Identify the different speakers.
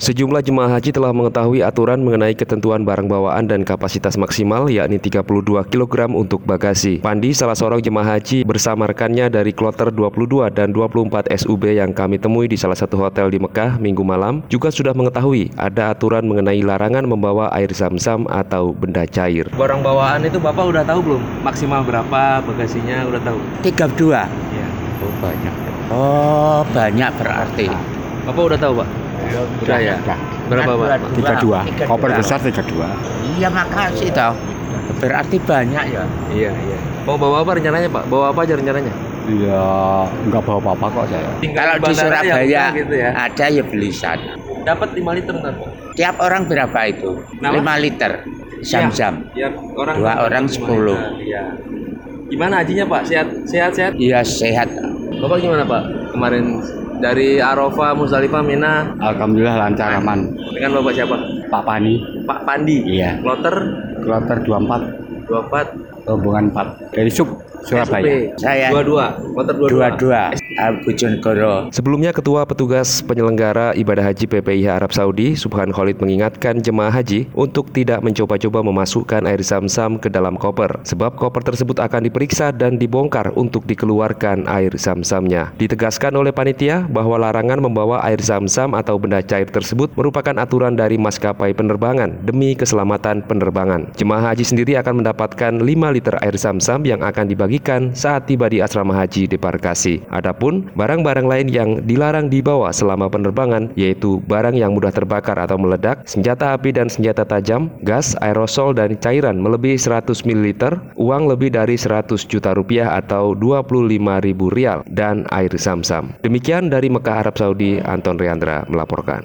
Speaker 1: Sejumlah jemaah haji telah mengetahui aturan mengenai ketentuan barang bawaan dan kapasitas maksimal yakni 32 kg untuk bagasi. Pandi salah seorang jemaah haji bersama rekannya dari kloter 22 dan 24 SUB yang kami temui di salah satu hotel di Mekah minggu malam juga sudah mengetahui ada aturan mengenai larangan membawa air zam-zam atau benda cair.
Speaker 2: Barang bawaan itu Bapak udah tahu belum? Maksimal berapa bagasinya udah tahu?
Speaker 3: 32
Speaker 2: Iya. Oh, banyak.
Speaker 3: oh banyak berarti
Speaker 2: Bapak udah tahu, Pak? Udah ya.
Speaker 3: Udah.
Speaker 2: Berapa, Pak?
Speaker 3: 32
Speaker 4: Koper besar 32.
Speaker 3: iya makasih toh berarti banyak ya
Speaker 2: Iya, iya. Mau bawa apa rencananya, Pak? Bawa apa aja rencananya?
Speaker 4: Iya, enggak bawa apa-apa kok ya. saya.
Speaker 3: kalau di
Speaker 2: bandara yang
Speaker 3: Surabaya
Speaker 2: udah gitu ya.
Speaker 3: ada ya belisan
Speaker 2: Dapat 5 liter ntar, Pak.
Speaker 3: tiap orang berapa itu
Speaker 2: Nama?
Speaker 3: 5 liter jam-jam
Speaker 2: Ya, orang
Speaker 3: Dua orang
Speaker 2: Lima
Speaker 3: 10.
Speaker 2: liter, Iya. Gimana hajinya, Pak? Sehat, sehat, sehat.
Speaker 3: iya sehat
Speaker 2: Bapak gimana, Pak? Kemarin dari Arafah, Musdalifah, Mina
Speaker 4: Alhamdulillah lancar aman.
Speaker 2: dengan Bapak siapa?
Speaker 4: Pak Pani,
Speaker 2: Pak Pandi.
Speaker 4: iya.
Speaker 2: Kloter
Speaker 4: Kloter 24,
Speaker 2: 24
Speaker 4: rombongan 4 dari Sub Surabaya.
Speaker 2: SUP.
Speaker 3: Saya.
Speaker 2: 22, kloter 22.
Speaker 3: 22 Ah, Bojonegoro
Speaker 1: Sebelumnya Ketua Petugas Penyelenggara Ibadah Haji PPIH Arab Saudi, Subhan Khalid mengingatkan jemaah haji untuk tidak mencoba-coba memasukkan air zam-zam ke dalam koper, sebab koper tersebut akan diperiksa dan dibongkar untuk dikeluarkan air zam-zamnya. Ditegaskan oleh panitia bahwa larangan membawa air zam-zam atau benda cair tersebut merupakan aturan dari maskapai penerbangan demi keselamatan penerbangan. Jemaah haji sendiri akan mendapatkan 5 liter air zam-zam yang akan dibagikan saat tiba di asrama haji debarkasi. Adapun barang-barang lain yang dilarang dibawa selama penerbangan yaitu barang yang mudah terbakar atau meledak, senjata api dan senjata tajam, gas, aerosol dan cairan melebihi 100 ml, uang lebih dari 100 juta rupiah atau 25 ribu rial dan air zam-zam. Demikian dari Mekah Arab Saudi, Anton Riandra melaporkan.